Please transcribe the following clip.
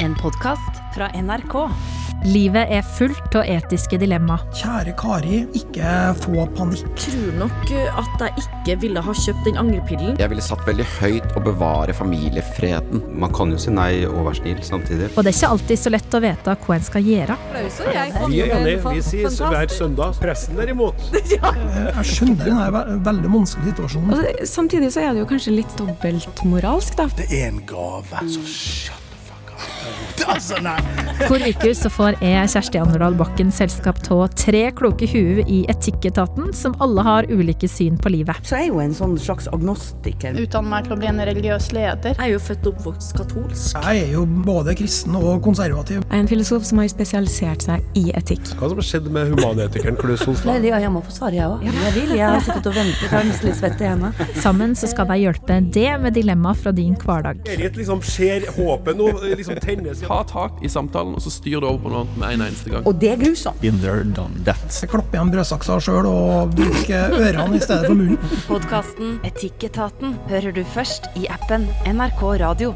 En podkast fra NRK. Livet er fullt av etiske dilemma. Kjære Kari, ikke få panikk. tror nok uh, at jeg ikke ville ha kjøpt den angrepillen. Jeg ville satt veldig høyt å bevare familiefreden. Man kan jo si nei og være snill samtidig. Og det er ikke alltid så lett å vite hva en skal gjøre. Vi er enige. Vi sies hver søndag. Pressen derimot Jeg skjønner den er ve- veldig vanskelig situasjonen. Samtidig så er det jo kanskje litt dobbeltmoralsk, da. Hvor uke så får jeg Kjersti Anderdal Bakken selskap av tre kloke huer i Etikketaten, som alle har ulike syn på livet. Så er jeg jo en sånn slags agnostiker. utdanne meg til å bli en religiøs leder. Jeg er jo født og oppvokst katolsk. Jeg er jo både kristen og konservativ. Jeg er en filosof som har spesialisert seg i etikk. Hva som har skjedd med humanetikeren Klaus Olsland? Ja, jeg må få svare, jeg òg. Jeg vil. Jeg har sittet og ventet. Jeg har nesten litt svett i hendene. Sammen så skal de hjelpe det med dilemma fra din hverdag. Berit liksom ser håpet nå. Liksom tennes. Ta tak i samtalen, og så styr det over på noe annet med en eneste gang. Og det er grusomt. Jeg klapper igjen brødsaksa sjøl og bruker ørene i stedet for munnen. Podkasten Etikketaten hører du først i appen NRK Radio.